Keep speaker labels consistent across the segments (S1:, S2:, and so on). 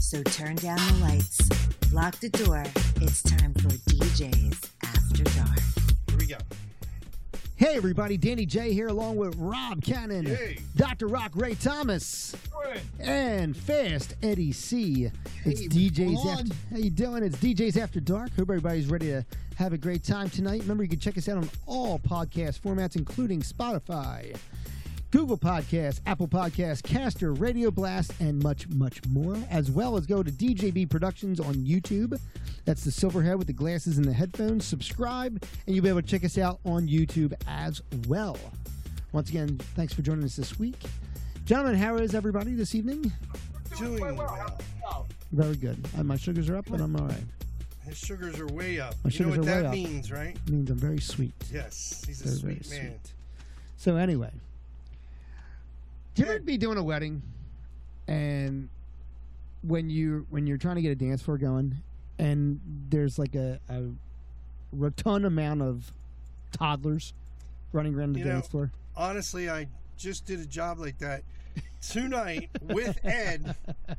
S1: So turn down the lights, lock the door. It's time for DJs After Dark.
S2: Here we go.
S3: Hey everybody, Danny J here along with Rob Cannon,
S2: Yay.
S3: Dr. Rock Ray Thomas, and Fast Eddie C. It's
S2: Hey,
S3: DJs
S2: blonde.
S3: after How you doing? It's DJs After Dark. Hope everybody's ready to have a great time tonight. Remember you can check us out on all podcast formats including Spotify, Google Podcasts, Apple Podcasts, Caster, Radio Blast, and much, much more. As well as go to DJB Productions on YouTube. That's the silverhead with the glasses and the headphones. Subscribe, and you'll be able to check us out on YouTube as well. Once again, thanks for joining us this week. Gentlemen, how is everybody this evening?
S2: Doing well.
S3: Very good. Uh, my sugars are up, but I'm all right.
S2: His sugars are way up.
S3: My
S2: you know what
S3: sugars are way
S2: that
S3: up.
S2: means, right?
S3: It means I'm very sweet.
S2: Yes, he's a
S3: They're very
S2: sweet man.
S3: So anyway, do you ever
S2: Yeah.
S3: be doing a wedding, and when you when you're trying to get a dance floor going, and there's like a, a rotund amount of toddlers running around the
S2: You know-
S3: dance floor?
S2: Honestly, I just did a job like that tonight with Ed,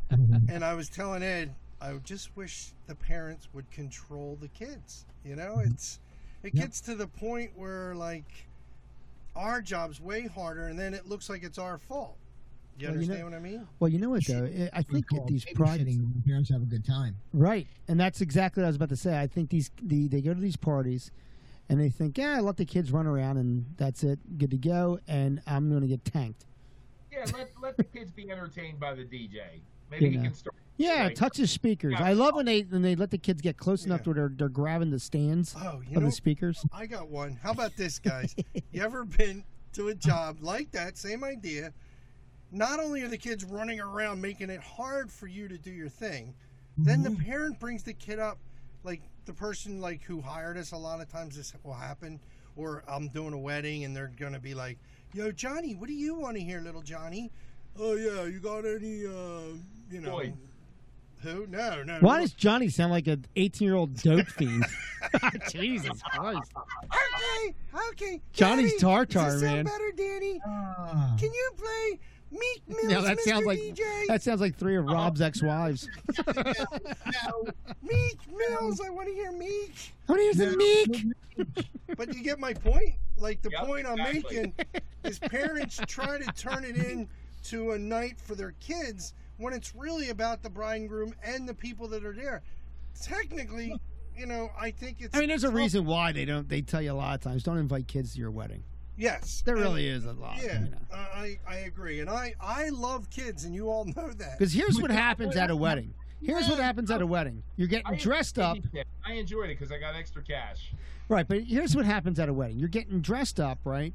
S2: and I was telling Ed, I just wish the parents would control the kids. You know,
S3: Mm-hmm.
S2: it's it
S3: Yep.
S2: gets to the point where like our job's way harder, and then it looks like it's our fault. You
S3: Well, you know-
S2: understand what I mean?
S3: Well, you know what though, I- I think that these private
S4: babysitting, the parents have a good time.
S3: Right, and that's exactly what I was about to say. I think these the, they go to these parties, and they think, yeah, let the kids run around, and that's it, good to go, and I'm going to get tanked.
S5: Yeah, let let the kids be entertained by the DJ. Maybe
S3: You
S5: he
S3: know.
S5: can start.
S3: Yeah,
S5: Like-
S3: touch the speakers.
S5: Yeah.
S3: I love when they when they let the kids get close enough
S2: Yeah.
S3: to where they're, they're grabbing the stands
S2: Oh, you
S3: of
S2: know,
S3: the speakers.
S2: I got one. How about this, guys? you ever been to a job like that? Same idea. Not only are the kids running around making it hard for you to do your thing, then the
S3: Mm-hmm.
S2: parent brings the kid up, like the person like who hired us. A lot of times this will happen. Or I'm doing a wedding and they're gonna be like, "Yo, Johnny, what do you want to hear, little Johnny?" Oh yeah, you got any? uh You know,
S5: Boy.
S2: who? No, no.
S3: Why does Johnny sound like an 18 year old dope fiend? Jesus Christ!
S2: Okay, okay.
S3: Johnny's
S2: Daddy,
S3: Tar Tar,
S2: does this
S3: man.
S2: Sound better, Danny?
S4: Ah.
S2: Can you play Meek Mill's
S3: No, that
S2: Mr.
S3: sounds like
S2: DJ?
S3: that sounds like three of Rob's
S2: Oh.
S3: ex-wives.
S2: Meek Mills, I want to hear Meek.
S3: How many is
S4: No.
S3: it, Meek?
S2: But you get my point? Like the
S5: Yep,
S2: point I'm
S5: exactly.
S2: making is parents try to turn it in to a night for their kids when it's really about the bride and groom and the people that are there. Technically, you know, I think it's
S3: I mean, there's a reason why they don't. They tell you a lot of times, don't invite kids to your wedding.
S2: yes.
S3: There
S2: and-
S3: really is a lot.
S2: Yeah,
S3: you know.
S2: I I I agree, and I I love kids, and you all know that.
S3: Because here's what happens at a wedding. Here's what happens at a wedding. You're
S5: I
S3: getting dressed up.
S5: enjoyed it. I enjoyed it because I got extra cash.
S3: Right, but here's what happens at a wedding. You're getting dressed up, right?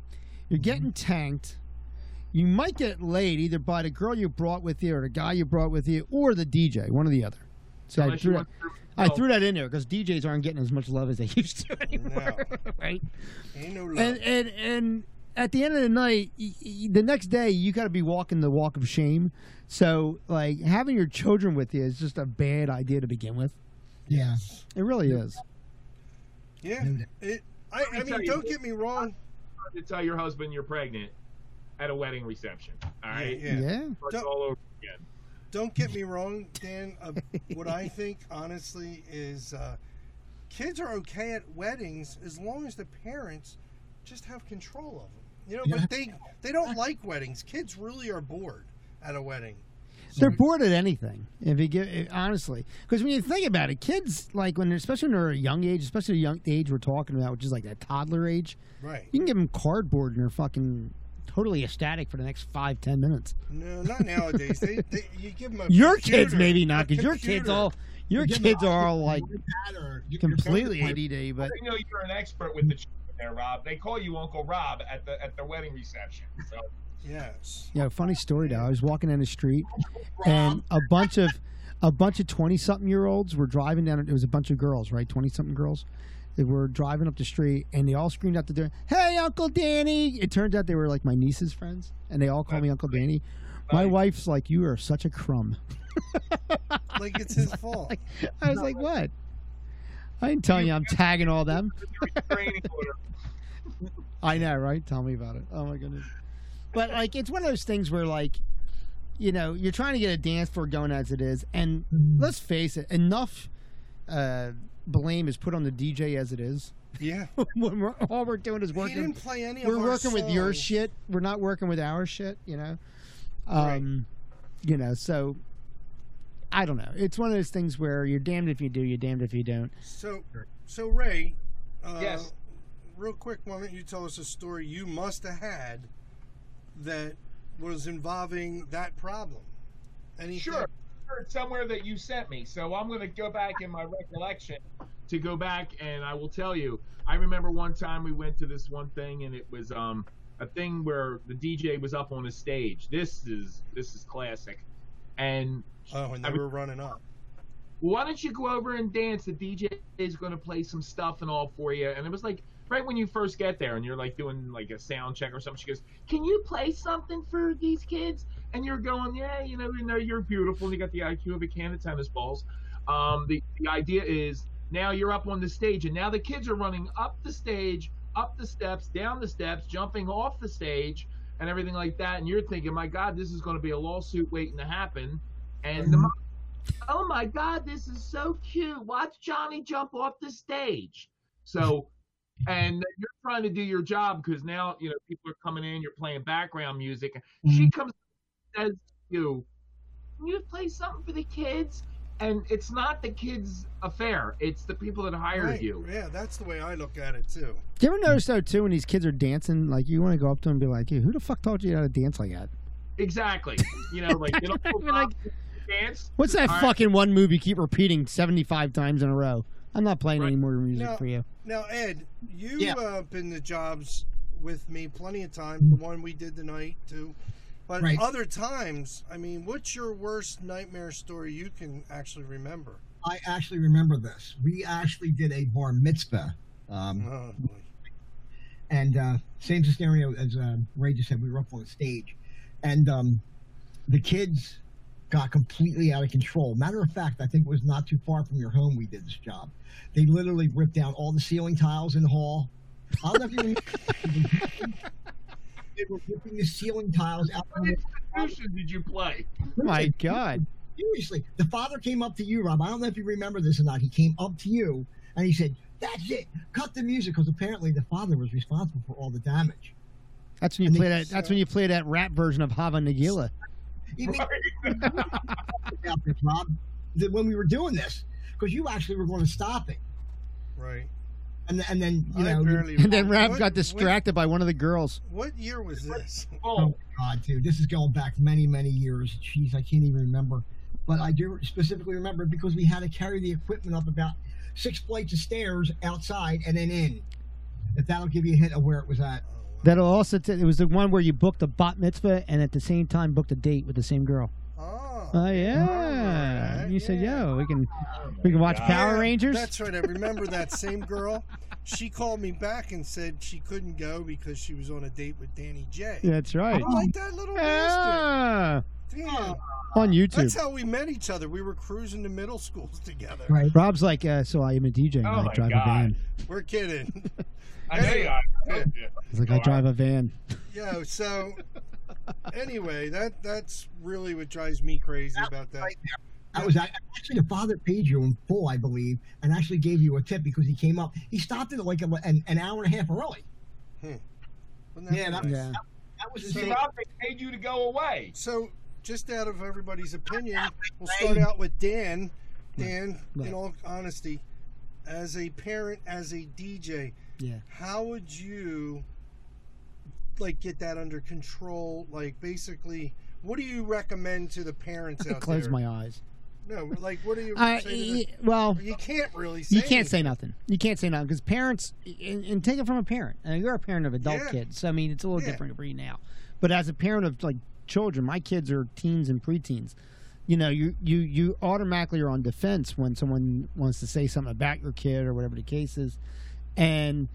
S3: You're
S5: Mm-hmm.
S3: getting tanked. You might get laid either by the girl you brought with you or the guy you brought with you or the DJ, one or the other. So I
S5: Unless you
S3: threw, that,
S5: want to-
S3: I threw that in there because DJs aren't getting as much love as they used to anymore, right?
S2: Ain't no love.
S3: And, and and at the end of the night, y- y- the next day, you got to be walking the walk of shame. So like having your children with you is just a bad idea to begin with.
S4: Yeah.
S3: It really is.
S2: yeah,
S4: No doubt.
S2: it. I,
S5: me
S2: I
S5: tell
S2: mean,
S5: you,
S2: don't get me wrong.
S5: to tell your husband you're pregnant at a wedding reception. All right,
S2: Yeah.
S3: yeah.
S5: Starts
S2: Don't-
S5: all over again.
S2: Don't get me wrong, Dan. Uh, what I think, honestly, is uh, kids are okay at weddings as long as the parents just have control of them. You know,
S4: Yeah.
S2: but they they don't like weddings. Kids really are bored at a wedding.
S3: They're bored at anything. If you give eh, honestly, because when you think about it, kids like when they're especially when they're a young age, especially the young the age we're talking about, which is like that toddler age,
S2: Right.
S3: you can give them cardboard and they're fucking totally ecstatic for the next five ten minutes.
S2: No, not nowadays. They, they you give them a
S3: Your
S2: computer,
S3: kids maybe not,
S2: a
S3: because your kids
S2: computer.
S3: all your
S4: Give them
S3: kids
S4: an
S3: are all
S4: iPad
S3: like
S4: or you- your
S3: completely
S4: parents-
S3: ADD. But
S5: I know you're an expert with the children there, Rob. They call you Uncle Rob at the at the wedding reception. So
S2: Yes.
S3: you know, funny story though. I was walking down the street and a bunch of a bunch of 20 something year olds were driving down it was a bunch of girls right 20 something girls they were driving up the street and they all screamed out the door hey uncle danny it turned out they were like my niece's friends and they all call me uncle danny my
S5: Nice.
S3: wife's like you are such a crumb
S2: Like it's his fault.
S3: i was like what i didn't tell you i'm tagging all them
S5: training order.
S3: I know, right? Tell me about it. Oh my goodness. But like, it's one of those things where like, you know, you're trying to get a dance floor going as it is, and
S2: Mm-hmm.
S3: let's face it, enough uh, blame is put on the DJ as it is.
S2: Yeah.
S3: when we're, all we're doing is
S2: He didn't
S3: working.
S2: play any
S3: We're
S2: of our
S3: working with your
S2: songs.
S3: shit. We're not working with our shit. You know.
S5: Right.
S3: Um, you know, so I don't know. It's one of those things where you're damned if you do, you're damned if you don't.
S2: So, so Ray. Uh,
S5: Yes.
S2: Real quick, why don't you tell us a story you must have had that was involving that problem? Anything?
S5: Sure. Heard somewhere that you sent me. So I'm going to go back in my recollection to go back and I will tell you. I remember one time we went to this one thing and it was um a thing where the DJ was up on a stage. This is this is classic. And
S2: Oh, and they
S5: I mean-
S2: were running up.
S5: why don't you go over and dance? The DJ is going to play some stuff and all for you. And it was like right when you first get there and you're like doing like a sound check or something. She goes, "Can you play something for these kids?" And you're going, "Yeah, you know, you know, you're beautiful. and You got the IQ of a can of tennis balls." Um, the the idea is now you're up on the stage, and now the kids are running up the stage, up the steps, down the steps, jumping off the stage, and everything like that. And you're thinking, "My God, this is going to be a lawsuit waiting to happen." And the mom oh my god this is so cute watch johnny jump off the stage so and you're trying to do your job because now you know people are coming in you're playing background music she comes and says to you can you play something for the kids and it's not the kids affair it's the people that hired
S2: Right.
S5: you
S2: Yeah, that's the way I look at it too.
S3: Do you ever notice though too when these kids are dancing, like you want to go up to them and be like, "Hey, who the fuck taught you how to dance like that?
S5: exactly you know like they don't
S3: You're like-
S5: dance
S3: What's that
S5: All right.
S3: fucking one move you keep repeating seventy five times in a row? I'm not playing
S5: Right.
S3: any more music
S2: No.
S3: for you.
S2: Now, Ed, you
S4: Yeah.
S2: uh, been the jobs with me plenty of times. The one we did tonight too, but
S4: Right.
S2: other times, I mean, what's your worst nightmare story you can actually remember?
S4: I actually remember this. We actually did a bar mitzvah. Um,
S2: Oh, boy.
S4: and uh, same scenario as uh, Ray just said. We were up on the stage, and um, the kids got completely out of control. Matter of fact, I think it was not too far from your home. We did this job. They literally ripped down all the ceiling tiles in the hall. I don't know if you remember. they were ripping the ceiling tiles out. From the-
S5: Institution did you play
S3: My God,
S4: Seriously, the father came up to you, Rob. I don't know if you remember this or not. He came up to you and he said, "That's it. Cut the music," because apparently the father was responsible for all the damage.
S3: that's when you
S4: And
S3: play
S4: they-
S3: that. That's when you play that rap version of Hava Nagila.
S4: He
S5: right?
S4: about this, Rob, that when we were doing this, because you actually were going to stop it,
S2: right. and
S4: and and then you
S2: I
S4: know,
S2: barely.
S3: And then Rap
S2: Oh, what-
S3: got distracted by one of the girls.
S2: What, what year was this?
S5: oh
S4: oh God, dude, this is going back many many years. Jeez, I can't even remember, but I do specifically remember because we had to carry the equipment up about six flights of stairs outside and then in. If that'll give you a hint of where it was at.
S2: Oh, wow.
S3: That'll also t- it was the one where you booked a bat mitzvah and at the same time booked a date with the same girl.
S2: Oh.
S3: Oh yeah,
S2: Alright,
S3: you said
S2: yeah.
S3: yo, we can we can watch
S5: God.
S3: Power
S2: Yeah,
S3: Rangers.
S2: That's right. I remember that same girl. She called me back and said she couldn't go because she was on a date with Danny J.
S3: That's right.
S2: I'm like that little bastard.
S3: Ah,
S2: Damn.
S3: on YouTube.
S2: That's how we met each other. We were cruising to middle schools together.
S4: Right.
S3: Rob's like, uh, so I am a DJ. and
S5: Oh
S3: I
S5: my
S3: drive
S5: God.
S3: a van.
S2: We're kidding.
S5: i know you are.
S3: He's like,
S5: Oh,
S3: I
S5: wow.
S3: drive a van.
S2: Yo, so anyway, that that's really what drives me crazy about that.
S4: I was I- actually the father paid you in full, I believe, and actually gave you a tip because he came up. He stopped it like a, an, an hour and a half early.
S2: Wasn't that
S4: Yeah, that-
S2: nice?
S3: Yeah.
S4: That was
S5: See,
S4: insane.
S5: Rob, they paid you to go away
S2: So just out of everybody's opinion, we'll start out with Dan. Dan, in
S3: Right.
S2: all honesty, as a parent, as a DJ,
S3: Yeah.
S2: how would you like get that under control? Like basically, what do you recommend to the parents out
S3: Close
S2: there?
S3: my eyes.
S2: No, like what do you
S3: I, e
S2: say to the-
S3: well,
S2: You can't really say.
S3: Uh, you can't say nothing. You can't say nothing because parents, and, and take it from a parent. And you're a parent of adult
S2: Yeah.
S3: kids, so I mean, it's a little
S2: Yeah.
S3: different for you now. But as a parent of like children, my kids are teens and preteens. You know, you you you automatically are on defense when someone wants to say something about your kid or whatever the case is, and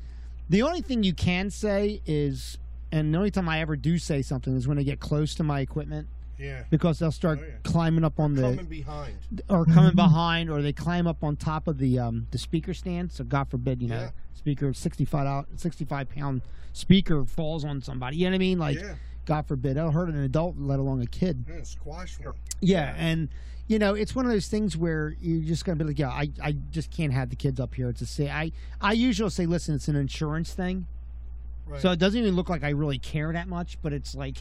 S3: the only thing you can say is, and the only time I ever do say something is when they get close to my equipment
S2: Yeah,
S3: because they'll start
S2: Oh, yeah.
S3: climbing up on the
S2: coming behind.
S3: or coming behind, or they climb up on top of the um, the speaker stand. So God forbid, you know,
S2: Yeah.
S3: speaker sixty five out sixty five pound speaker falls on somebody. You know what I mean? Like
S2: yeah,
S3: God forbid, that'll hurt an adult, let alone a kid.
S2: I'm gonna squash one.
S3: Yeah, and you know, it's one of those things where you're just gonna be like, yeah, I, I just can't have the kids up here to say. I I usually say, listen, it's an insurance thing,
S2: Right.
S3: so it doesn't even look like I really care that much, but it's like,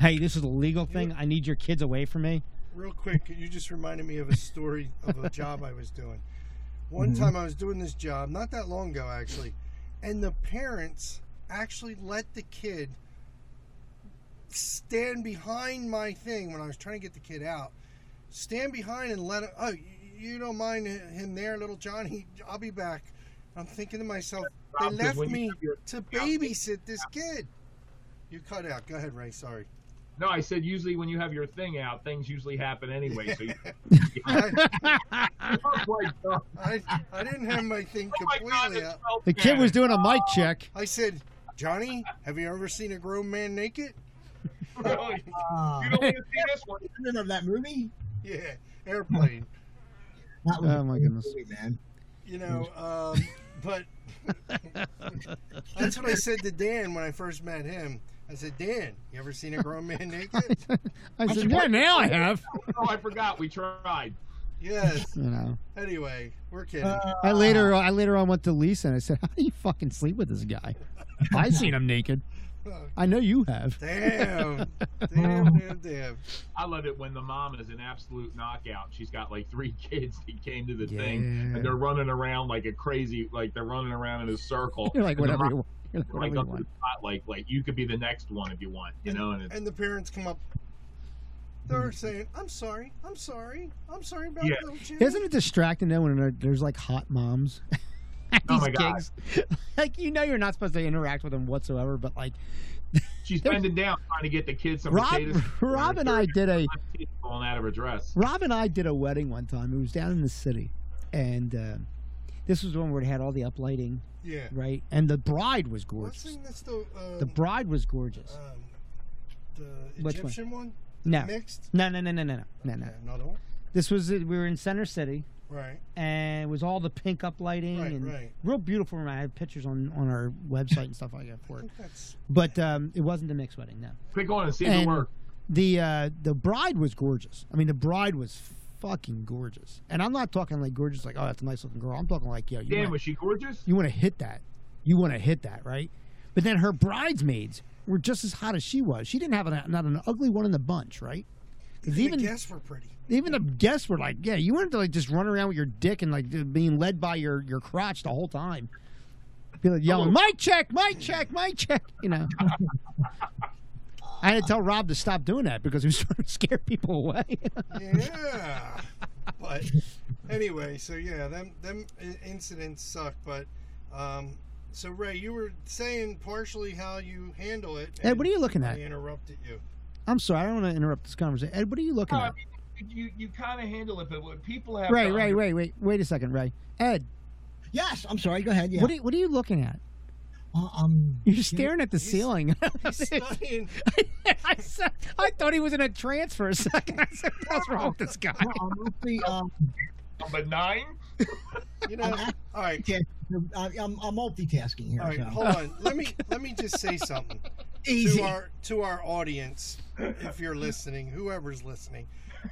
S3: hey, this is a legal thing. I need your kids away from me.
S2: Real quick, you just reminded me of a story of a job I was doing. One
S5: Mm-hmm.
S4: Mhm.
S2: time I was doing this job, not that long ago actually, and the parents actually let the kid stand behind my thing when I was trying to get the kid out. Stand behind and let him, oh, y- you don't mind him there, little Johnny? I'll be back. I'm thinking to myself, they
S5: Rob, 'cause
S2: left
S5: when you
S2: me
S5: have your-
S2: to babysit this kid. You cut out. Go ahead, Ray. Sorry.
S5: No, I said usually when you have your thing out, things usually happen anyway. So you,
S2: I,
S5: oh my god!
S2: I, I didn't have my thing
S5: Oh my god!
S2: completely
S5: it's
S2: out.
S5: 12
S3: The kid was
S5: minutes.
S3: doing a mic check.
S2: I said, Johnny, have you ever seen a grown man naked?
S5: Really?
S4: Uh,
S5: Oh, You don't want to see this one.
S4: remember that movie?
S2: Yeah, airplane.
S4: That was a
S3: Oh, my
S4: great
S3: goodness.
S4: movie, man.
S2: You know, um, but that's what I said to Dan when I first met him. I said, Dan, you ever seen a grown man naked?
S3: I said, yeah, now I have.
S5: Oh, I forgot. We tried.
S2: yes.
S3: You know,
S2: Anyway, we're kidding.
S4: Uh,
S3: I later I later on went to Lisa and I said, how do you fucking sleep with this guy? I seen him naked.
S2: Oh,
S3: I know you have.
S2: damn. Damn, damn, damn.
S5: I love it when the mom is an absolute knockout. She's got like three kids that came to the thing,
S3: Yeah.
S5: and they're running around like a crazy, like they're running around in a circle.
S3: You're like
S5: And the
S3: whatever
S5: mom-
S3: you want. You're like, whatever you
S5: like up to
S3: want.
S5: the spotlight, like you could be the next one if you want, you know. And it's,
S2: And the parents come up. They're
S3: Mm.
S2: saying, I'm sorry. I'm sorry. I'm sorry about
S5: Yeah.
S2: little Jimmy.
S3: Isn't it distracting though when there- there's like hot moms? at
S5: Oh,
S3: these
S5: my God.
S3: gigs? like you know you're not supposed to interact with them whatsoever, but like
S5: she's
S3: there's-
S5: bending down trying to get the kids some
S3: Rob,
S5: potatoes.
S3: Rob and I did a
S5: falling out of her dress.
S3: Rob and I did a wedding one time. It was down in the city, and uh, this was one where it had all the uplighting,
S2: Yeah.
S3: right? And the bride was
S2: What's
S3: gorgeous.
S2: the thing that's the. Um,
S3: The bride was gorgeous.
S2: um, the
S3: Which one?
S2: Egyptian one?
S3: No,
S2: Mixed?
S3: no, no, no, no, no, no, no.
S2: Yeah, another one?
S3: This was uh, we were in Center City,
S2: Right.
S3: and it was all the pink uplighting
S2: Right,
S3: and
S2: right.
S3: real beautiful. room. I have pictures on on our website and stuff like that
S2: I
S3: for it.
S2: think that's
S3: But um, it wasn't the mixed wedding. No,
S5: Click on and see if it
S3: And-
S5: works.
S3: the uh, the bride was gorgeous. I mean, the bride was fucking gorgeous, and I'm not talking like gorgeous, like oh that's a nice looking girl. I'm talking like yo, you
S5: Damn,
S3: want,
S5: was she gorgeous?
S3: you want to hit that, you want to hit that, right? But then her bridesmaids were just as hot as she was. She didn't have an, not an ugly one in the bunch, right? 'Cause
S2: even
S3: even
S2: the guests were pretty.
S3: even the guests were like, yeah, you wanted to like just run around with your dick and like being led by your your crotch the whole time. Be like yelling, my check, my check, my check, you know. I had to tell Rob to stop doing that because he was trying to scare people away.
S2: Yeah. but anyway, so yeah, them them i- incidents suck. But um, so Ray, you were saying partially how you handle it.
S3: Ed, what are you looking
S2: I
S3: at?
S2: interrupted you.
S3: I'm sorry, I don't want to interrupt this conversation. Ed, what are you looking
S5: No, I
S3: at?
S5: mean, you you kind of handle it, but what people have
S3: Ray,
S5: to
S3: Ray,
S5: under-
S3: Ray, wait, wait a second, Ray. Ed,
S4: yes, I'm sorry. Go ahead. Yeah.
S3: what are you, what are you looking at?
S4: Uh, um,
S3: You're staring at the
S2: He's-
S3: ceiling.
S2: He's studying.
S3: I, said, I thought he was in a trance for a second. I said, what's wrong with this guy?
S4: well, I'm mostly, um,
S5: number nine.
S2: You know. All right.
S4: I- uh, I'm, I'm multitasking here.
S2: All right.
S4: so.
S2: Hold on. Let me let me just say something.
S4: Easy.
S2: to our to our audience if you're listening whoever's listening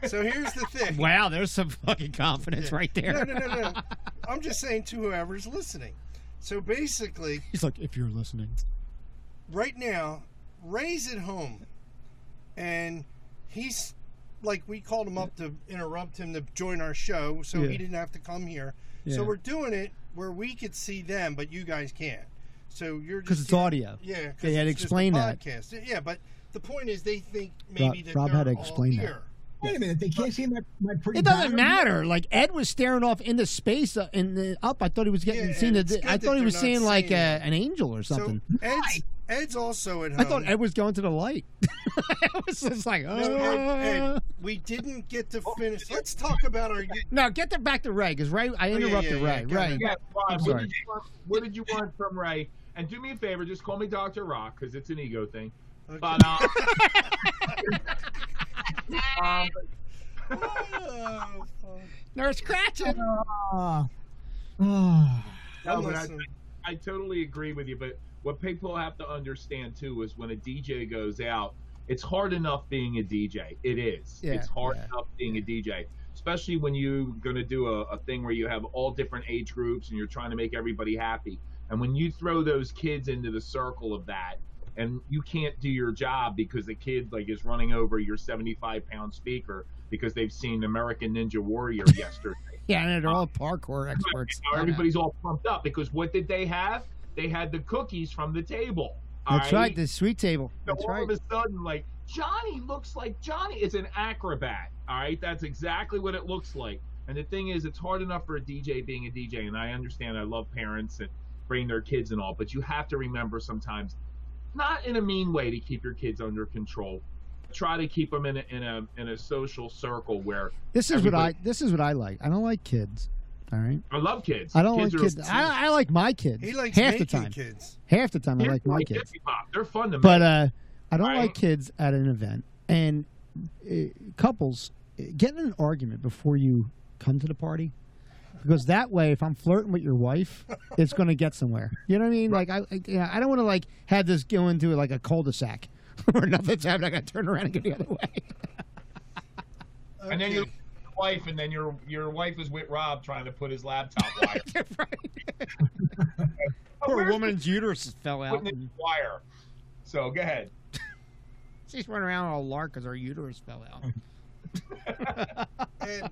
S2: so here's the thing
S3: Wow, there's some fucking confidence
S2: Yeah.
S3: right
S2: no
S3: there.
S2: no no no i'm just saying to whoever's listening so basically
S3: He's like, if you're listening.
S2: right now ray's at home and he's like we called him up to interrupt him to join our show so
S3: Yeah.
S2: he didn't have to come here
S3: Yeah.
S2: so we're doing it where we could see them but you guys can't so you're just
S3: Because it's
S2: here-
S3: audio.
S2: Yeah, 'cause
S3: They had
S2: it's just a
S3: explained that.
S2: Podcast. Yeah, but the point is, they think maybe
S3: Rob-
S2: that
S3: Rob
S2: they're
S3: had to
S2: all
S3: explain that.
S2: here.
S4: Wait a minute. They can't see my, my pretty.
S3: It doesn't
S4: pattern?
S3: matter. Like Ed was staring off into space uh, in the, up. I thought he was getting
S2: Yeah, and
S3: seen. A,
S2: it's good
S3: I
S2: that
S3: thought he
S2: they're
S3: was
S2: not
S3: seeing like a,
S2: seeing it.
S3: an angel or something.
S2: So Ed's, Ed's also at home.
S3: I thought Ed was going to the light. I was just like, oh.
S2: No, Ed, Ed, we didn't get to
S5: Oh.
S2: finish. Let's talk about our.
S3: No, get the, back to Ray because Ray. I
S2: Oh, yeah,
S3: interrupted
S2: yeah,
S3: Ray.
S2: yeah,
S3: Ray.
S5: Yeah, Rob, what,
S3: sorry.
S5: did you want, what did you want from Ray? And do me a favor, just call me Doctor Rock because it's an ego thing.
S2: Okay.
S5: But um, um,
S2: Oh, fuck.
S3: Nurse Cratchit.
S4: Ah. Ah.
S5: no,
S2: I'm
S5: but I,
S2: listening.
S5: I totally agree with you. But what people have to understand too is when a DJ goes out, it's hard enough being a DJ. It is.
S3: Yeah,
S5: it's hard
S3: yeah.
S5: enough being a DJ, especially when you're going to do a, a thing where you have all different age groups and you're trying to make everybody happy. And when you throw those kids into the circle of that, and you can't do your job because the kid like is running over your 75 pound speaker because they've seen American Ninja Warrior yesterday.
S3: Yeah, and they're all parkour experts.
S5: Now everybody's all pumped up because what did they have? They had the cookies from the table. all
S3: That's right, the sweet table.
S5: so
S3: That's
S5: all
S3: right.
S5: of a sudden, like Johnny looks like Johnny is an acrobat. All right, that's exactly what it looks like. And the thing is, it's hard enough for a DJ being a DJ, and I understand. I love parents and bring their kids and all, but you have to remember sometimes, not in a mean way, to keep your kids under control. Try to keep them in a in a in a social circle where
S3: This is what I
S5: everybody-
S3: this is what I like. I don't like kids. All right.
S5: I love kids.
S3: I don't
S5: kids
S3: like
S5: are-
S3: kids. I, I like my kids.
S2: He likes
S3: half the
S2: making
S3: time.
S2: kids.
S3: Half the time I
S5: Kids
S3: like
S5: are
S3: my kids.
S5: Jiffy Pop. They're fun to
S3: But uh,
S5: make.
S3: I don't
S5: Right.
S3: like kids at an event. And uh, couples uh, get in an argument before you come to the party. Because that way, if I'm flirting with your wife, it's going to get somewhere. You know what I mean? Like I, I, yeah, I don't want to like have this go into like a cul-de-sac or nothing's happening. I got to turn around and go the other way.
S5: and then
S2: Okay.
S5: you look at your wife, and then your your wife is with Rob trying to put his laptop wire.
S3: Poor
S5: Where's
S3: woman's uterus fell
S5: the-
S3: out.
S5: putting it in
S3: And
S5: the wire. So go ahead.
S3: she's running around all lark because her uterus fell out.
S2: Ed,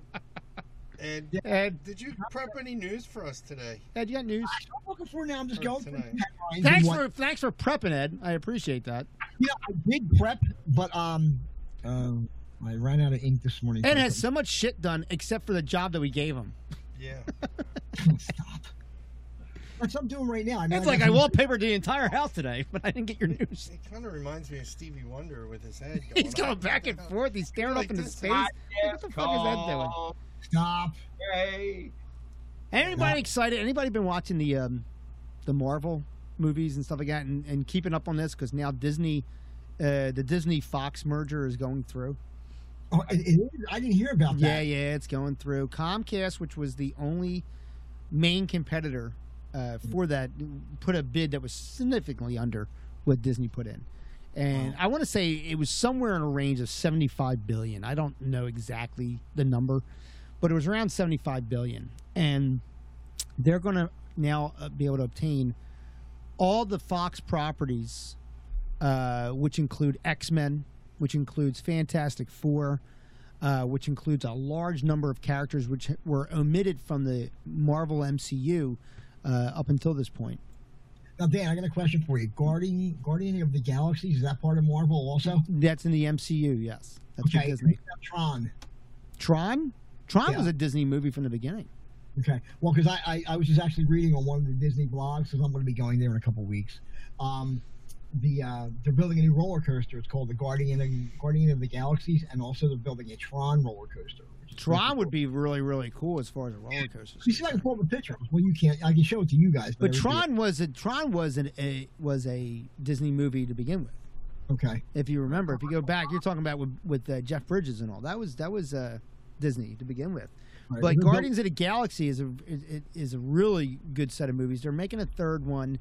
S2: Ed,
S3: Ed,
S2: did you prep any news for us today?
S3: Ed, you got news?
S4: I'm looking for now. I'm just
S2: Oh,
S4: going through
S2: tonight.
S4: the headlines and
S3: Thanks
S4: what-
S3: for thanks for prepping, Ed. I appreciate that.
S4: you know, I did prep, but um, um, I ran out of ink this morning.
S3: Ed has so much shit done except for the job that we gave him.
S2: Yeah.
S4: stop. That's what I'm doing right now. I mean,
S3: It's
S4: I
S3: like
S4: got
S3: I
S4: some-
S3: wallpapered the entire house today, but I didn't get your news.
S2: It kind of reminds me of Stevie Wonder with his head. Going
S3: He's going back and forth. He's staring
S2: Like
S3: up into
S2: this
S3: space.
S2: hot
S3: What the fuck is Ed doing?
S4: Stop.
S5: Hey.
S3: Anybody excited? Anybody been watching the um, the Marvel movies and stuff like that, and, and keeping up on this because now Disney, uh, the Disney Fox merger is going through.
S4: Oh, it- it is- I didn't hear about
S3: Yeah,
S4: that.
S3: yeah, it's going through. Comcast, which was the only main competitor uh, for that, put a bid that was significantly under what Disney put in, and I want to say it was somewhere in a range of seventy-five billion. I don't know exactly the number, but it was around seventy-five billion, and they're going to now uh, be able to obtain all the Fox properties, uh, which include X-Men, which includes Fantastic Four uh, which includes a large number of characters which were omitted from the Marvel MCU uh, up until this point.
S4: Now, Dan, I got a question for you. Guardian, Guardian of the Galaxy is that part of Marvel also?
S3: That's in the MCU, yes. That's with
S4: Okay.
S3: Disney.
S4: Tron.
S3: Tron? Tron
S4: Yeah.
S3: was a Disney movie from the beginning.
S4: Okay. Well, because I, I, I was just actually reading on one of the Disney blogs because I'm going to be going there in a couple weeks. Um, the uh, they're building a new roller coaster. It's called the Guardian of, Guardian of the Galaxies, and also they're building a Tron roller coaster. which is pretty
S3: Tron
S4: cool.
S3: would be really, really cool as far as a roller coaster.
S4: You see, I can pull up a picture. Well, you can't. I can show it to you guys.
S3: But
S4: I would do
S3: Tron was a Tron was an, a was a Disney movie to begin with.
S4: it. Okay.
S3: If you remember, if you go back, you're talking about with, with uh, Jeff Bridges and all. That was that was uh, Disney to begin with.
S4: All right.
S3: But
S4: They're
S3: Guardians of the Galaxy is a is- is- is a really good set of movies. They're making a third one.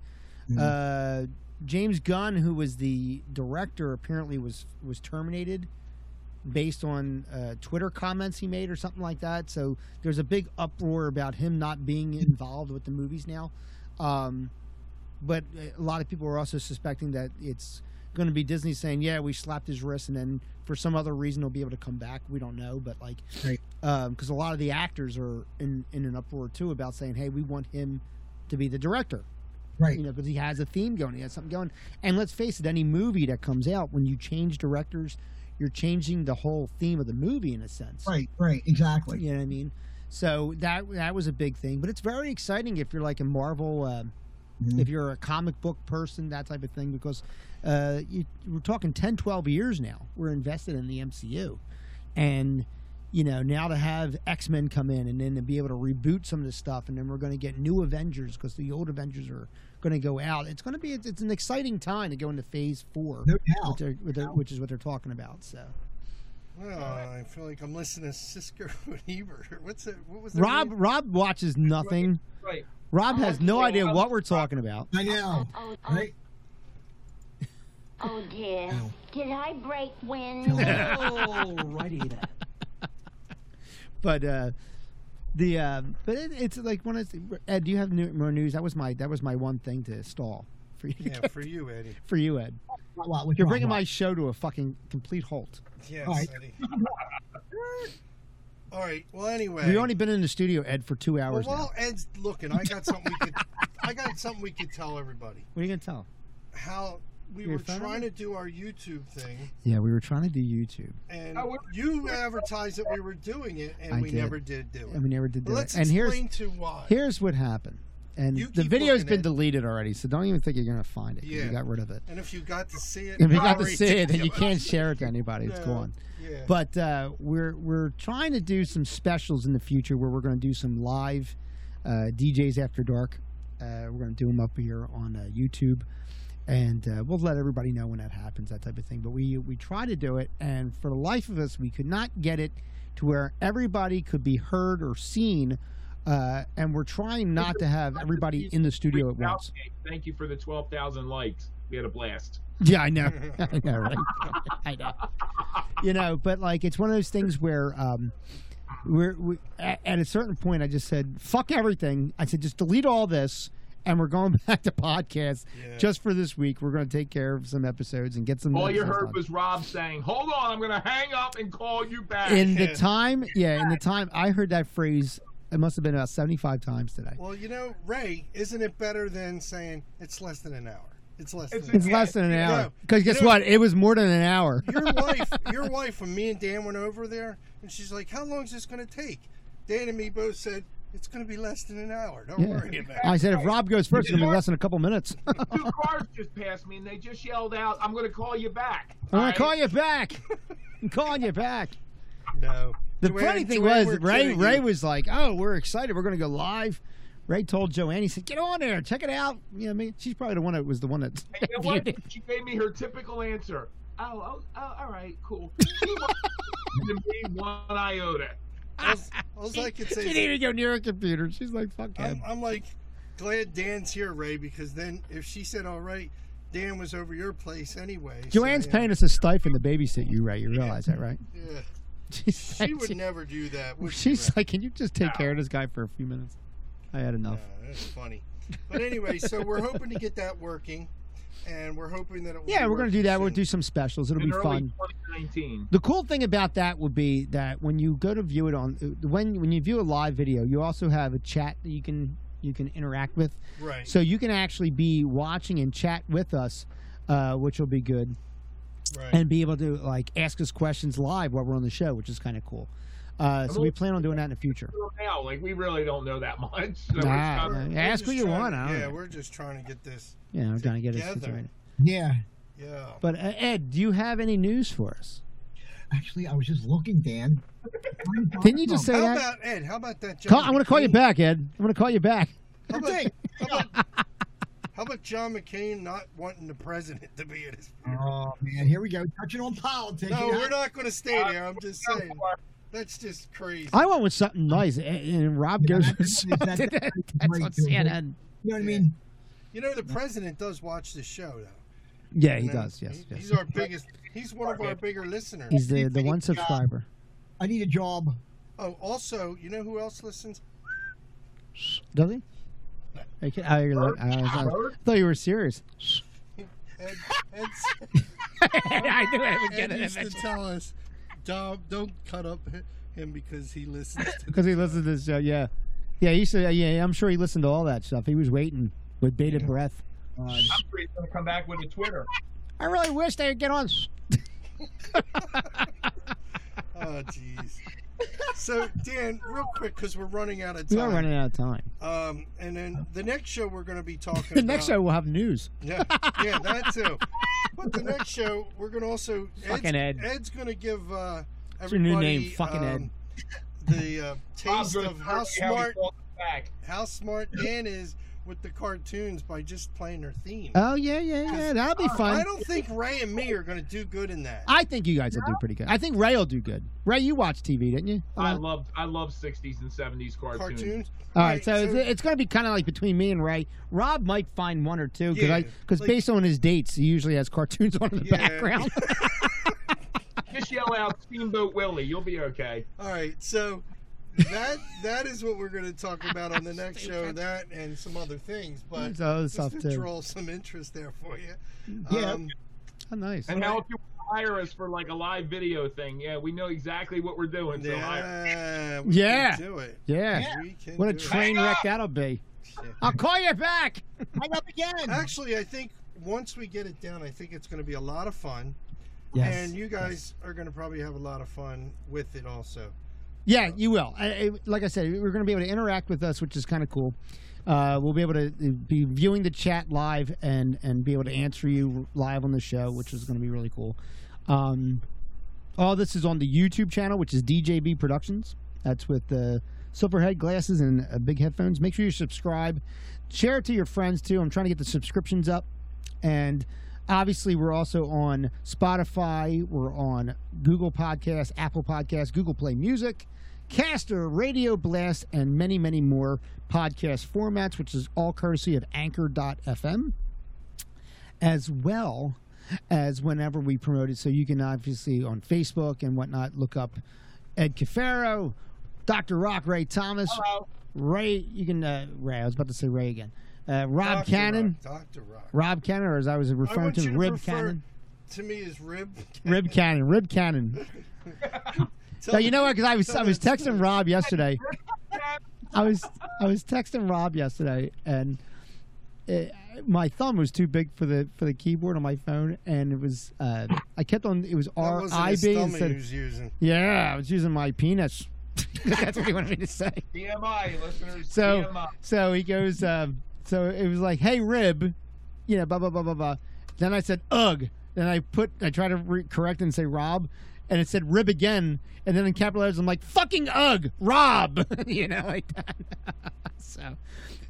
S3: Uh, James Gunn, who was the director, apparently was was terminated based on uh, Twitter comments he made or something like that. So there's a big uproar about him not being involved with the movies now. Um, but a lot of people are also suspecting that it's going to be Disney saying, "Yeah, we slapped his wrist," and then for some other reason he'll be able to come back. We don't know, but like, because
S4: Right.
S3: um, a lot of the actors are in in an uproar too about saying, "Hey, we want him to be the director,"
S4: Right.
S3: you know, because he has a theme going, he has something going. And let's face it, any movie that comes out, when you change directors, you're changing the whole theme of the movie in a sense.
S4: Right. Right. Exactly.
S3: You know what I mean? So that that was a big thing, but it's very exciting if you're like a Marvel. Um,
S4: Mhm.
S3: if you're a comic book person, that type of thing, because uh, you, we're talking 10, 12 years now. We're invested in the MCU. And, you know, now to have X Men come in and then to be able to reboot some of this stuff, and then we're going to get new Avengers because the old Avengers are going to go out. It's going to be, it's, it's an exciting time to go into phase four,
S4: No
S3: which,
S4: doubt.
S3: they're- which they're- which is what they're talking about. So,
S2: Oh, I feel like I'm listening to Sisker and Ebert. What's it? What was it?
S3: Rob, Rob watches nothing.
S5: Right.
S3: Rob has no
S5: Yeah,
S3: idea
S5: Rob-
S3: what we're talking about.
S4: I know.
S6: Oh, oh,
S4: Right.
S6: Oh dear.
S4: Ow.
S6: Did I break
S4: Phil.
S6: wind?
S7: Alrighty then.
S3: But uh, the uh, but it, it's like when it's Ed. Do you have new, more news? That was my that was my one thing to stall for you.
S2: Yeah, for you, Eddie.
S3: For you, Ed.
S4: What- what- what's
S3: You're
S4: wrong,
S3: bringing
S4: what?
S3: my show to a fucking complete halt.
S2: Yes,
S4: All right.
S2: Eddie. All right. Well, anyway.
S3: We've only been in the studio, Ed, for two
S2: well,
S3: hours now.
S2: while Ed's looking, I got something we could. I got something we could tell everybody.
S3: What are you gonna tell?
S2: How we
S3: Your
S2: were
S3: phone?
S2: trying to do our YouTube thing,
S3: Yeah, we were trying to do YouTube,
S2: and
S5: Oh, we're-
S2: you advertised that we were doing it, and
S3: I
S2: we
S3: did.
S2: never did do
S3: and
S2: it.
S3: we never did do
S2: Let's
S3: it. And here's
S2: explain to why.
S3: here's what happened. And
S2: You
S3: the
S2: keep
S3: video's
S2: looking
S3: been
S2: at-
S3: deleted already, so don't even think you're gonna find it. 'cause
S2: Yeah.
S3: We got rid of it.
S2: and if you got to see it,
S3: If you got to
S2: sorry.
S3: see it, then you can't share it to anybody. It's
S2: No.
S3: gone.
S2: Yeah.
S3: But uh, we're we're trying to do some specials in the future where we're going to do some live uh, DJs after dark. Uh, we're going to do them up here on uh, YouTube, and uh, we'll let everybody know when that happens, that type of thing. But we we try to do it, and for the life of us, we could not get it to where everybody could be heard or seen. Uh, and we're trying not to have everybody in the studio at once.
S5: Thank you for the 12,000 likes. We had a blast.
S3: Yeah, I know. I know, right? I know. You know, but like it's one of those things where um we're we, at, at a certain point I just said, fuck everything. I said just delete all this and we're going back to podcasts
S2: Yeah.
S3: just for this week. We're going to take care of some episodes and get some
S5: All you
S3: episodes
S5: heard
S3: done.
S5: was Rob saying, "Hold on, I'm gonna hang up and call you back."
S3: in the
S2: Yeah.
S3: time, yeah, in the time I heard that phrase it must have been about 75 times today.
S2: Well, you know, Ray, isn't it better than saying it's less than an hour? It's less than
S5: It's-
S2: an
S3: It's
S2: hour.
S3: less than an
S2: Yeah.
S3: hour. Because
S2: You
S3: guess
S2: know-
S3: what? It was more than an hour.
S2: your wife, your wife, when me and Dan went over there, and she's like, "How long is this going to take?" Dan and me both said, "It's going to be less than an hour. Don't
S3: Yeah.
S2: worry about it."
S3: I said, if Rob goes first, it's going to be less than a couple minutes.
S5: Two cars just passed me, and they just yelled out, "I'm gonna call you back."
S3: I'm
S5: All
S3: gonna
S5: right?
S3: call you back. I'm calling you back.
S2: No.
S3: The
S2: Joanne-
S3: funny thing
S2: Joanne,
S3: was,
S2: we're
S3: Ray
S2: kidding
S3: Ray
S2: you.
S3: was like, "Oh, we're excited. We're gonna go live." Ray told Joanne, he said, "Get on there, check it out." You know, what I mean, she's probably the one that was the one that.
S5: And you know what?
S3: viewed it.
S5: She gave me her typical answer. Oh, oh, oh all right, cool. She wasn't me one iota.
S2: All all I could
S3: She
S2: say, is,
S3: didn't even go near a computer. She's like, "Fuck
S2: I'm,
S3: him."
S2: I'm like, glad Dan's here, Ray, because then if she said all right, Dan was over your place anyway. so,
S3: Joanne's
S2: yeah.
S3: paying us a stipend to babysit you, Ray. You realize that, right?
S2: Yeah.
S3: She's
S2: She
S3: like,
S2: would never do that. Would she,
S3: she's
S2: Ray?
S3: like, "Can you just take care of this guy for a few minutes?" I had enough.
S2: Yeah, that's funny. But anyway, so we're hoping to get that working, and we're hoping that it. Will be
S3: Yeah, we're gonna
S2: working
S3: do that.
S2: Soon.
S3: We'll do some specials. It'll
S5: in
S3: be
S5: early
S3: fun.
S5: 2019.
S3: The cool thing about that would be that when you go to view it on when when you view a live video, you also have a chat that you can you can interact with.
S2: right.
S3: So you can actually be watching and chat with us, uh, which will be good,
S2: right.
S3: and be able to like ask us questions live while we're on the show, which is kind of cool. Uh, so we plan on doing that in the future.
S5: Now, like we really don't know that much. So it's
S3: Nah,
S5: not-
S3: man. ask
S2: just
S3: what you
S2: trying-
S3: want. I
S2: Yeah,
S3: don't know.
S2: we're just trying to get this.
S3: You know, trying to get it
S2: together.
S3: situated.
S4: Yeah,
S2: Yeah.
S3: But uh, Ed, do you have any news for us?
S4: actually, I was just looking, Dan. Where you
S3: Didn't you just
S4: talking
S3: say
S2: How
S3: that?
S2: about Ed? How about that? John
S3: Call, I'm going to call you
S2: McCain?
S3: back, Ed. I'm going to call you back.
S2: How about, how, about, how about John McCain not wanting the president to be in his?
S4: from? Oh man, here we go, touching on politics.
S2: No,
S4: You know,
S2: we're not going to stay there. I'm just saying. That's just crazy.
S3: I went with something nice, and, and Rob
S4: Yeah,
S3: goes
S4: that's-
S3: with
S4: that's-
S3: something
S4: that's
S3: that's
S4: great,
S3: on
S4: dude.
S3: CNN.
S4: You know what I mean?
S2: You know, the president does watch the show, though.
S3: Yeah, he
S2: You know,
S3: does. Yes,
S2: he-
S3: yes.
S2: He's our biggest. He's one of our bigger listeners.
S3: He's the the
S4: He's-
S3: one subscriber.
S4: I need a job.
S2: Oh, also, you know who else listens?
S3: Does he? I, can't- I, I, I- I thought you were serious.
S2: Ed, Ed,
S3: I knew I would
S2: Ed used to tell us, "Dom, don't cut up him because he listens to
S3: because he listens to this show. Yeah, yeah. He used to. Yeah, I'm sure he listened to all that stuff. He was waiting with bated breath.
S4: Uh,
S5: I'm sure he's gonna come back with a Twitter.
S3: I really wish they would get on.
S2: Oh, jeez. So, Dan, real quick, because we're running out of time.
S3: We are running out of time.
S2: Um, and then the next show we're going to be talking.
S3: The next
S2: about-
S3: show we'll have news.
S2: Yeah, yeah, that too. But the next show we're going to also.
S3: Fucking Ed.
S2: Ed's going to give uh,
S3: your
S2: everybody.
S3: new name, fucking Ed.
S2: um, The uh,
S5: Bob's
S2: taste
S5: gonna
S2: of how
S5: figure out he
S2: smart
S5: calls us back.
S2: how smart Dan is with the cartoons by just playing their theme.
S3: Oh yeah, yeah, yeah. That'll be
S2: I
S3: fun.
S2: don't think Ray and me are going to do good in that.
S3: I think you guys will do pretty good. I think Ray will do good. Ray, you watch TV, didn't you?
S5: I love I love 60s and 70s cartoons.
S2: Cartoons.
S3: All right, so, it's, it's going to be kind of like between me and Ray. Rob might find one or two because
S2: Yeah, like-
S3: based on his dates, he usually has cartoons on in the
S2: Yeah.
S3: background.
S5: Just yell out Steamboat Willie, you'll be okay.
S2: All right, so that that is what we're going to talk about on the next show. That and some other things, but
S3: so it's
S2: just
S3: tough
S2: to
S3: too.
S2: draw some interest there for you.
S4: Yeah.
S2: Um,
S3: Oh, nice.
S5: And how if you hire us for like a live video thing? Yeah, we know exactly what we're doing. So hire.
S2: yeah. we can
S3: Yeah.
S2: Do it.
S3: Yeah.
S2: We can
S3: What a
S2: do it.
S3: train wreck that'll be.
S2: Yeah.
S3: I'll call you back.
S4: Hang up again.
S2: Actually, I think once we get it down, I think it's going to be a lot of fun.
S4: Yes.
S2: And you guys are going to probably have a lot of fun with it also.
S3: Yeah, you will. I, I, like I said, we're going to be able to interact with us, which is kind of cool. Uh, we'll be able to uh, be viewing the chat live and and be able to answer you live on the show, which is going to be really cool. Um, all this is on the YouTube channel, which is DJB Productions. That's with the silverhead glasses and uh, big headphones. Make sure you subscribe, share it to your friends too. I'm trying to get the subscriptions up, and obviously we're also on Spotify, we're on Google Podcasts, Apple Podcasts, Google Play Music. Caster, Radio Blast, and many, many more podcast formats, which is all courtesy of Anchor.fm, as well as whenever we promote it. So you can obviously on Facebook and whatnot look up Ed Cafaro, Dr. Rock, Ray Thomas,
S5: Hello.
S3: Ray, you can, uh, Ray, I was about to say Ray again, uh, Rob
S2: Dr.
S3: Cannon,
S2: Rock, Dr. Rock.
S3: Rob Cannon, or as I was
S2: I
S3: referring
S2: want
S3: to,
S2: you to
S3: Rib
S2: refer
S3: Cannon.
S2: to me as Rib.
S3: Rib Cannon, Rib Cannon.
S2: Tell
S3: Now, you know what? Because I was,
S2: tell
S3: I was
S2: that story.
S3: texting Rob yesterday.
S5: Yeah,
S3: I was I was texting Rob yesterday, and uh my thumb was too big for the for the keyboard on my phone, and it was uh, I kept on it was
S2: That
S3: R
S2: wasn't
S3: I
S2: his
S3: B
S2: stomach he
S3: instead.
S2: was using.
S3: Yeah, I was using my penis. That's what he wanted me to say.
S5: TMI, listeners.
S3: So
S5: TMI.
S3: so he goes. Um, so it was like, hey rib, you know, blah blah blah blah blah. Then I said ugh. Then I put I tried to re- correct and say Rob. And it said rib again, and then in capital letters, I'm like, "Fucking ugh, Rob," you know, like that. so,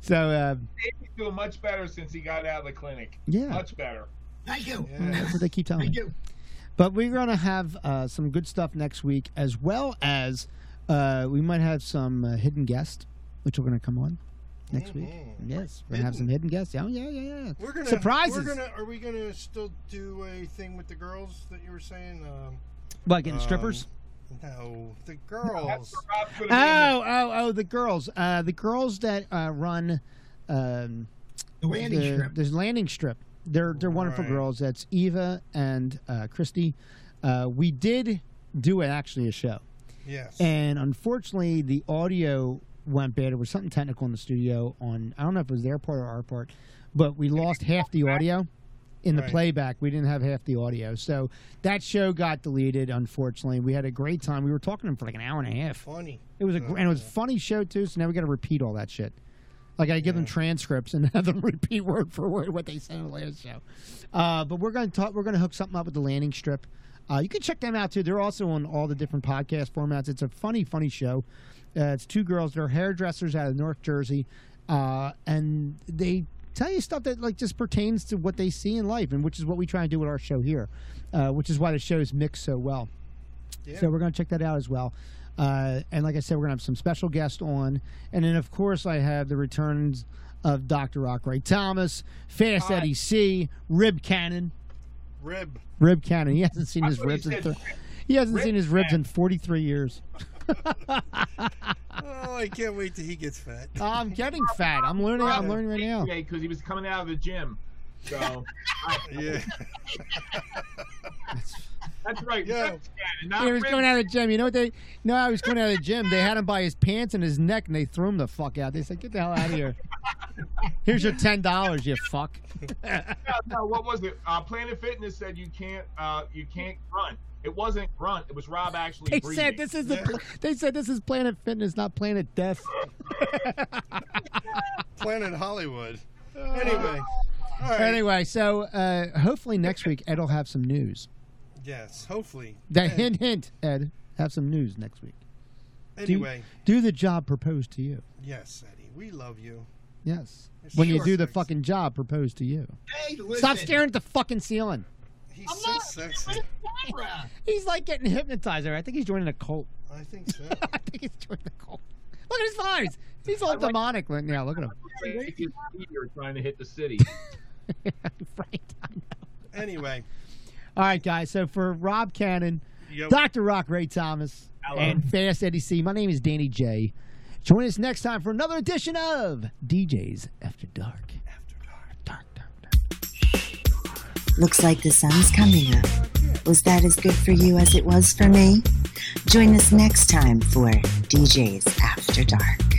S3: so uh,
S5: He's doing much better since he got out of the clinic.
S3: Yeah.
S5: Much better.
S4: Thank you.
S2: Yeah.
S3: That's what they keep telling
S4: Thank
S3: me.
S4: you.
S3: But we're going to have uh, some good stuff next week, as well as uh, we might have some uh, hidden guests, which are going to come on next week.
S2: Mhm.
S3: Yes, we're going to have some hidden guests. Oh, yeah, yeah, yeah.
S2: We're gonna
S3: Surprises.
S2: We're gonna. Are we gonna still do a thing with the girls that you were saying? Um,
S3: What, getting
S2: um,
S3: strippers?
S2: No, the
S5: That's
S2: girls.
S5: where Rob's gonna be in
S3: Oh, oh, oh, the girls. Uh, the girls that uh, run um,
S4: The landing
S3: the,
S4: strip.
S3: the landing strip. They're, they're wonderful
S2: Right.
S3: girls. That's Eva and uh, Christy. Uh, we did do actually a show.
S2: yes.
S3: and unfortunately the audio went bad. There was something technical in the studio on I don't know if it was their part or our part, but we lost half the audio in the
S2: Right.
S3: playback. We didn't have half the audio, so that show got deleted. Unfortunately, we had a great time. We were talking to them for like an hour and a half.
S2: funny.
S3: It was a gr- and it was a funny show too. So now we got to repeat all that shit. Like I give them transcripts and have them repeat word for word what they said on the last show. Uh, but we're gonna talk. We're gonna hook something up with the landing strip. Uh, you can check them out too. They're also on all the different podcast formats. It's a funny, funny show. Uh, it's two girls. They're hairdressers out of North Jersey, uh, and they tell you stuff that like just pertains to what they see in life, and which is what we try and do with our show here, uh, which is why the shows mix so well.
S2: Yeah.
S3: So we're going to check that out as well. Uh, and like I said, we're going to have some special guests on. And then, of course, I have the returns of Dr. Rock Ray Thomas, Fast
S5: Hi.
S3: Eddie C, Rib Cannon.
S2: Rib.
S3: Rib Cannon. He hasn't seen
S5: I
S3: his
S5: thought you
S3: ribs in
S5: said
S3: th- he hasn't
S5: Rib
S3: seen his ribs
S5: Cannon.
S3: in 43 years.
S2: Oh, I can't wait till he gets fat.
S3: I'm getting fat. I'm learning. I'm learning right now.
S5: because he was coming out of the gym. So
S2: Yeah.
S5: that's right.
S2: Yeah.
S5: Ribs cannon, not
S3: He was
S5: rib-
S3: coming out of the gym. You know what they? No, I was coming out of the gym. They had him by his pants and his neck, and they threw him the fuck out. They said, "Get the hell out of here." Here's your ten dollars, you fuck.
S5: no, no, what was it? Uh, Planet Fitness said you can't uh, you can't grunt. It wasn't grunt. It was Rob actually.
S3: They
S5: breathing.
S3: said this is the. pl- They said this is Planet Fitness, not Planet Death.
S2: Planet Hollywood. Ah. Anyway. All right.
S3: Anyway, so uh, hopefully next week Ed'll have some news.
S2: Yes. Hopefully.
S3: The hint, hint, Ed, have some news next week.
S2: Anyway.
S3: Do the job proposed to you.
S2: Yes, Eddie. We love you.
S3: Yes.
S2: It
S3: When you
S2: sure
S3: do the
S2: stinks.
S3: fucking job proposed to you.
S4: Hey, listen.
S3: Stop staring at the fucking ceiling.
S2: He's
S4: I'm
S2: so
S4: not-
S2: sexy.
S4: camera.
S3: He's like getting hypnotized. Right? I think he's joining a cult.
S2: I think so.
S3: I think he's joining a cult. Look at his eyes. He's all
S5: I like-
S3: demonic right now. Look at him.
S5: Like, it's Peter trying to hit the city.
S3: right. I know.
S2: Anyway,
S3: All right, guys. So for Rob Cannon,
S2: yep.
S3: Dr. Rock Ray Thomas,
S5: Hello.
S3: and Fast Eddie C, my name is Danny J. Join us next time for another edition of DJs After Dark.
S2: After dark.
S3: Dark, dark, dark.
S1: Looks like the sun's coming up. Was that as good for you as it was for me? Join us next time for DJs After Dark.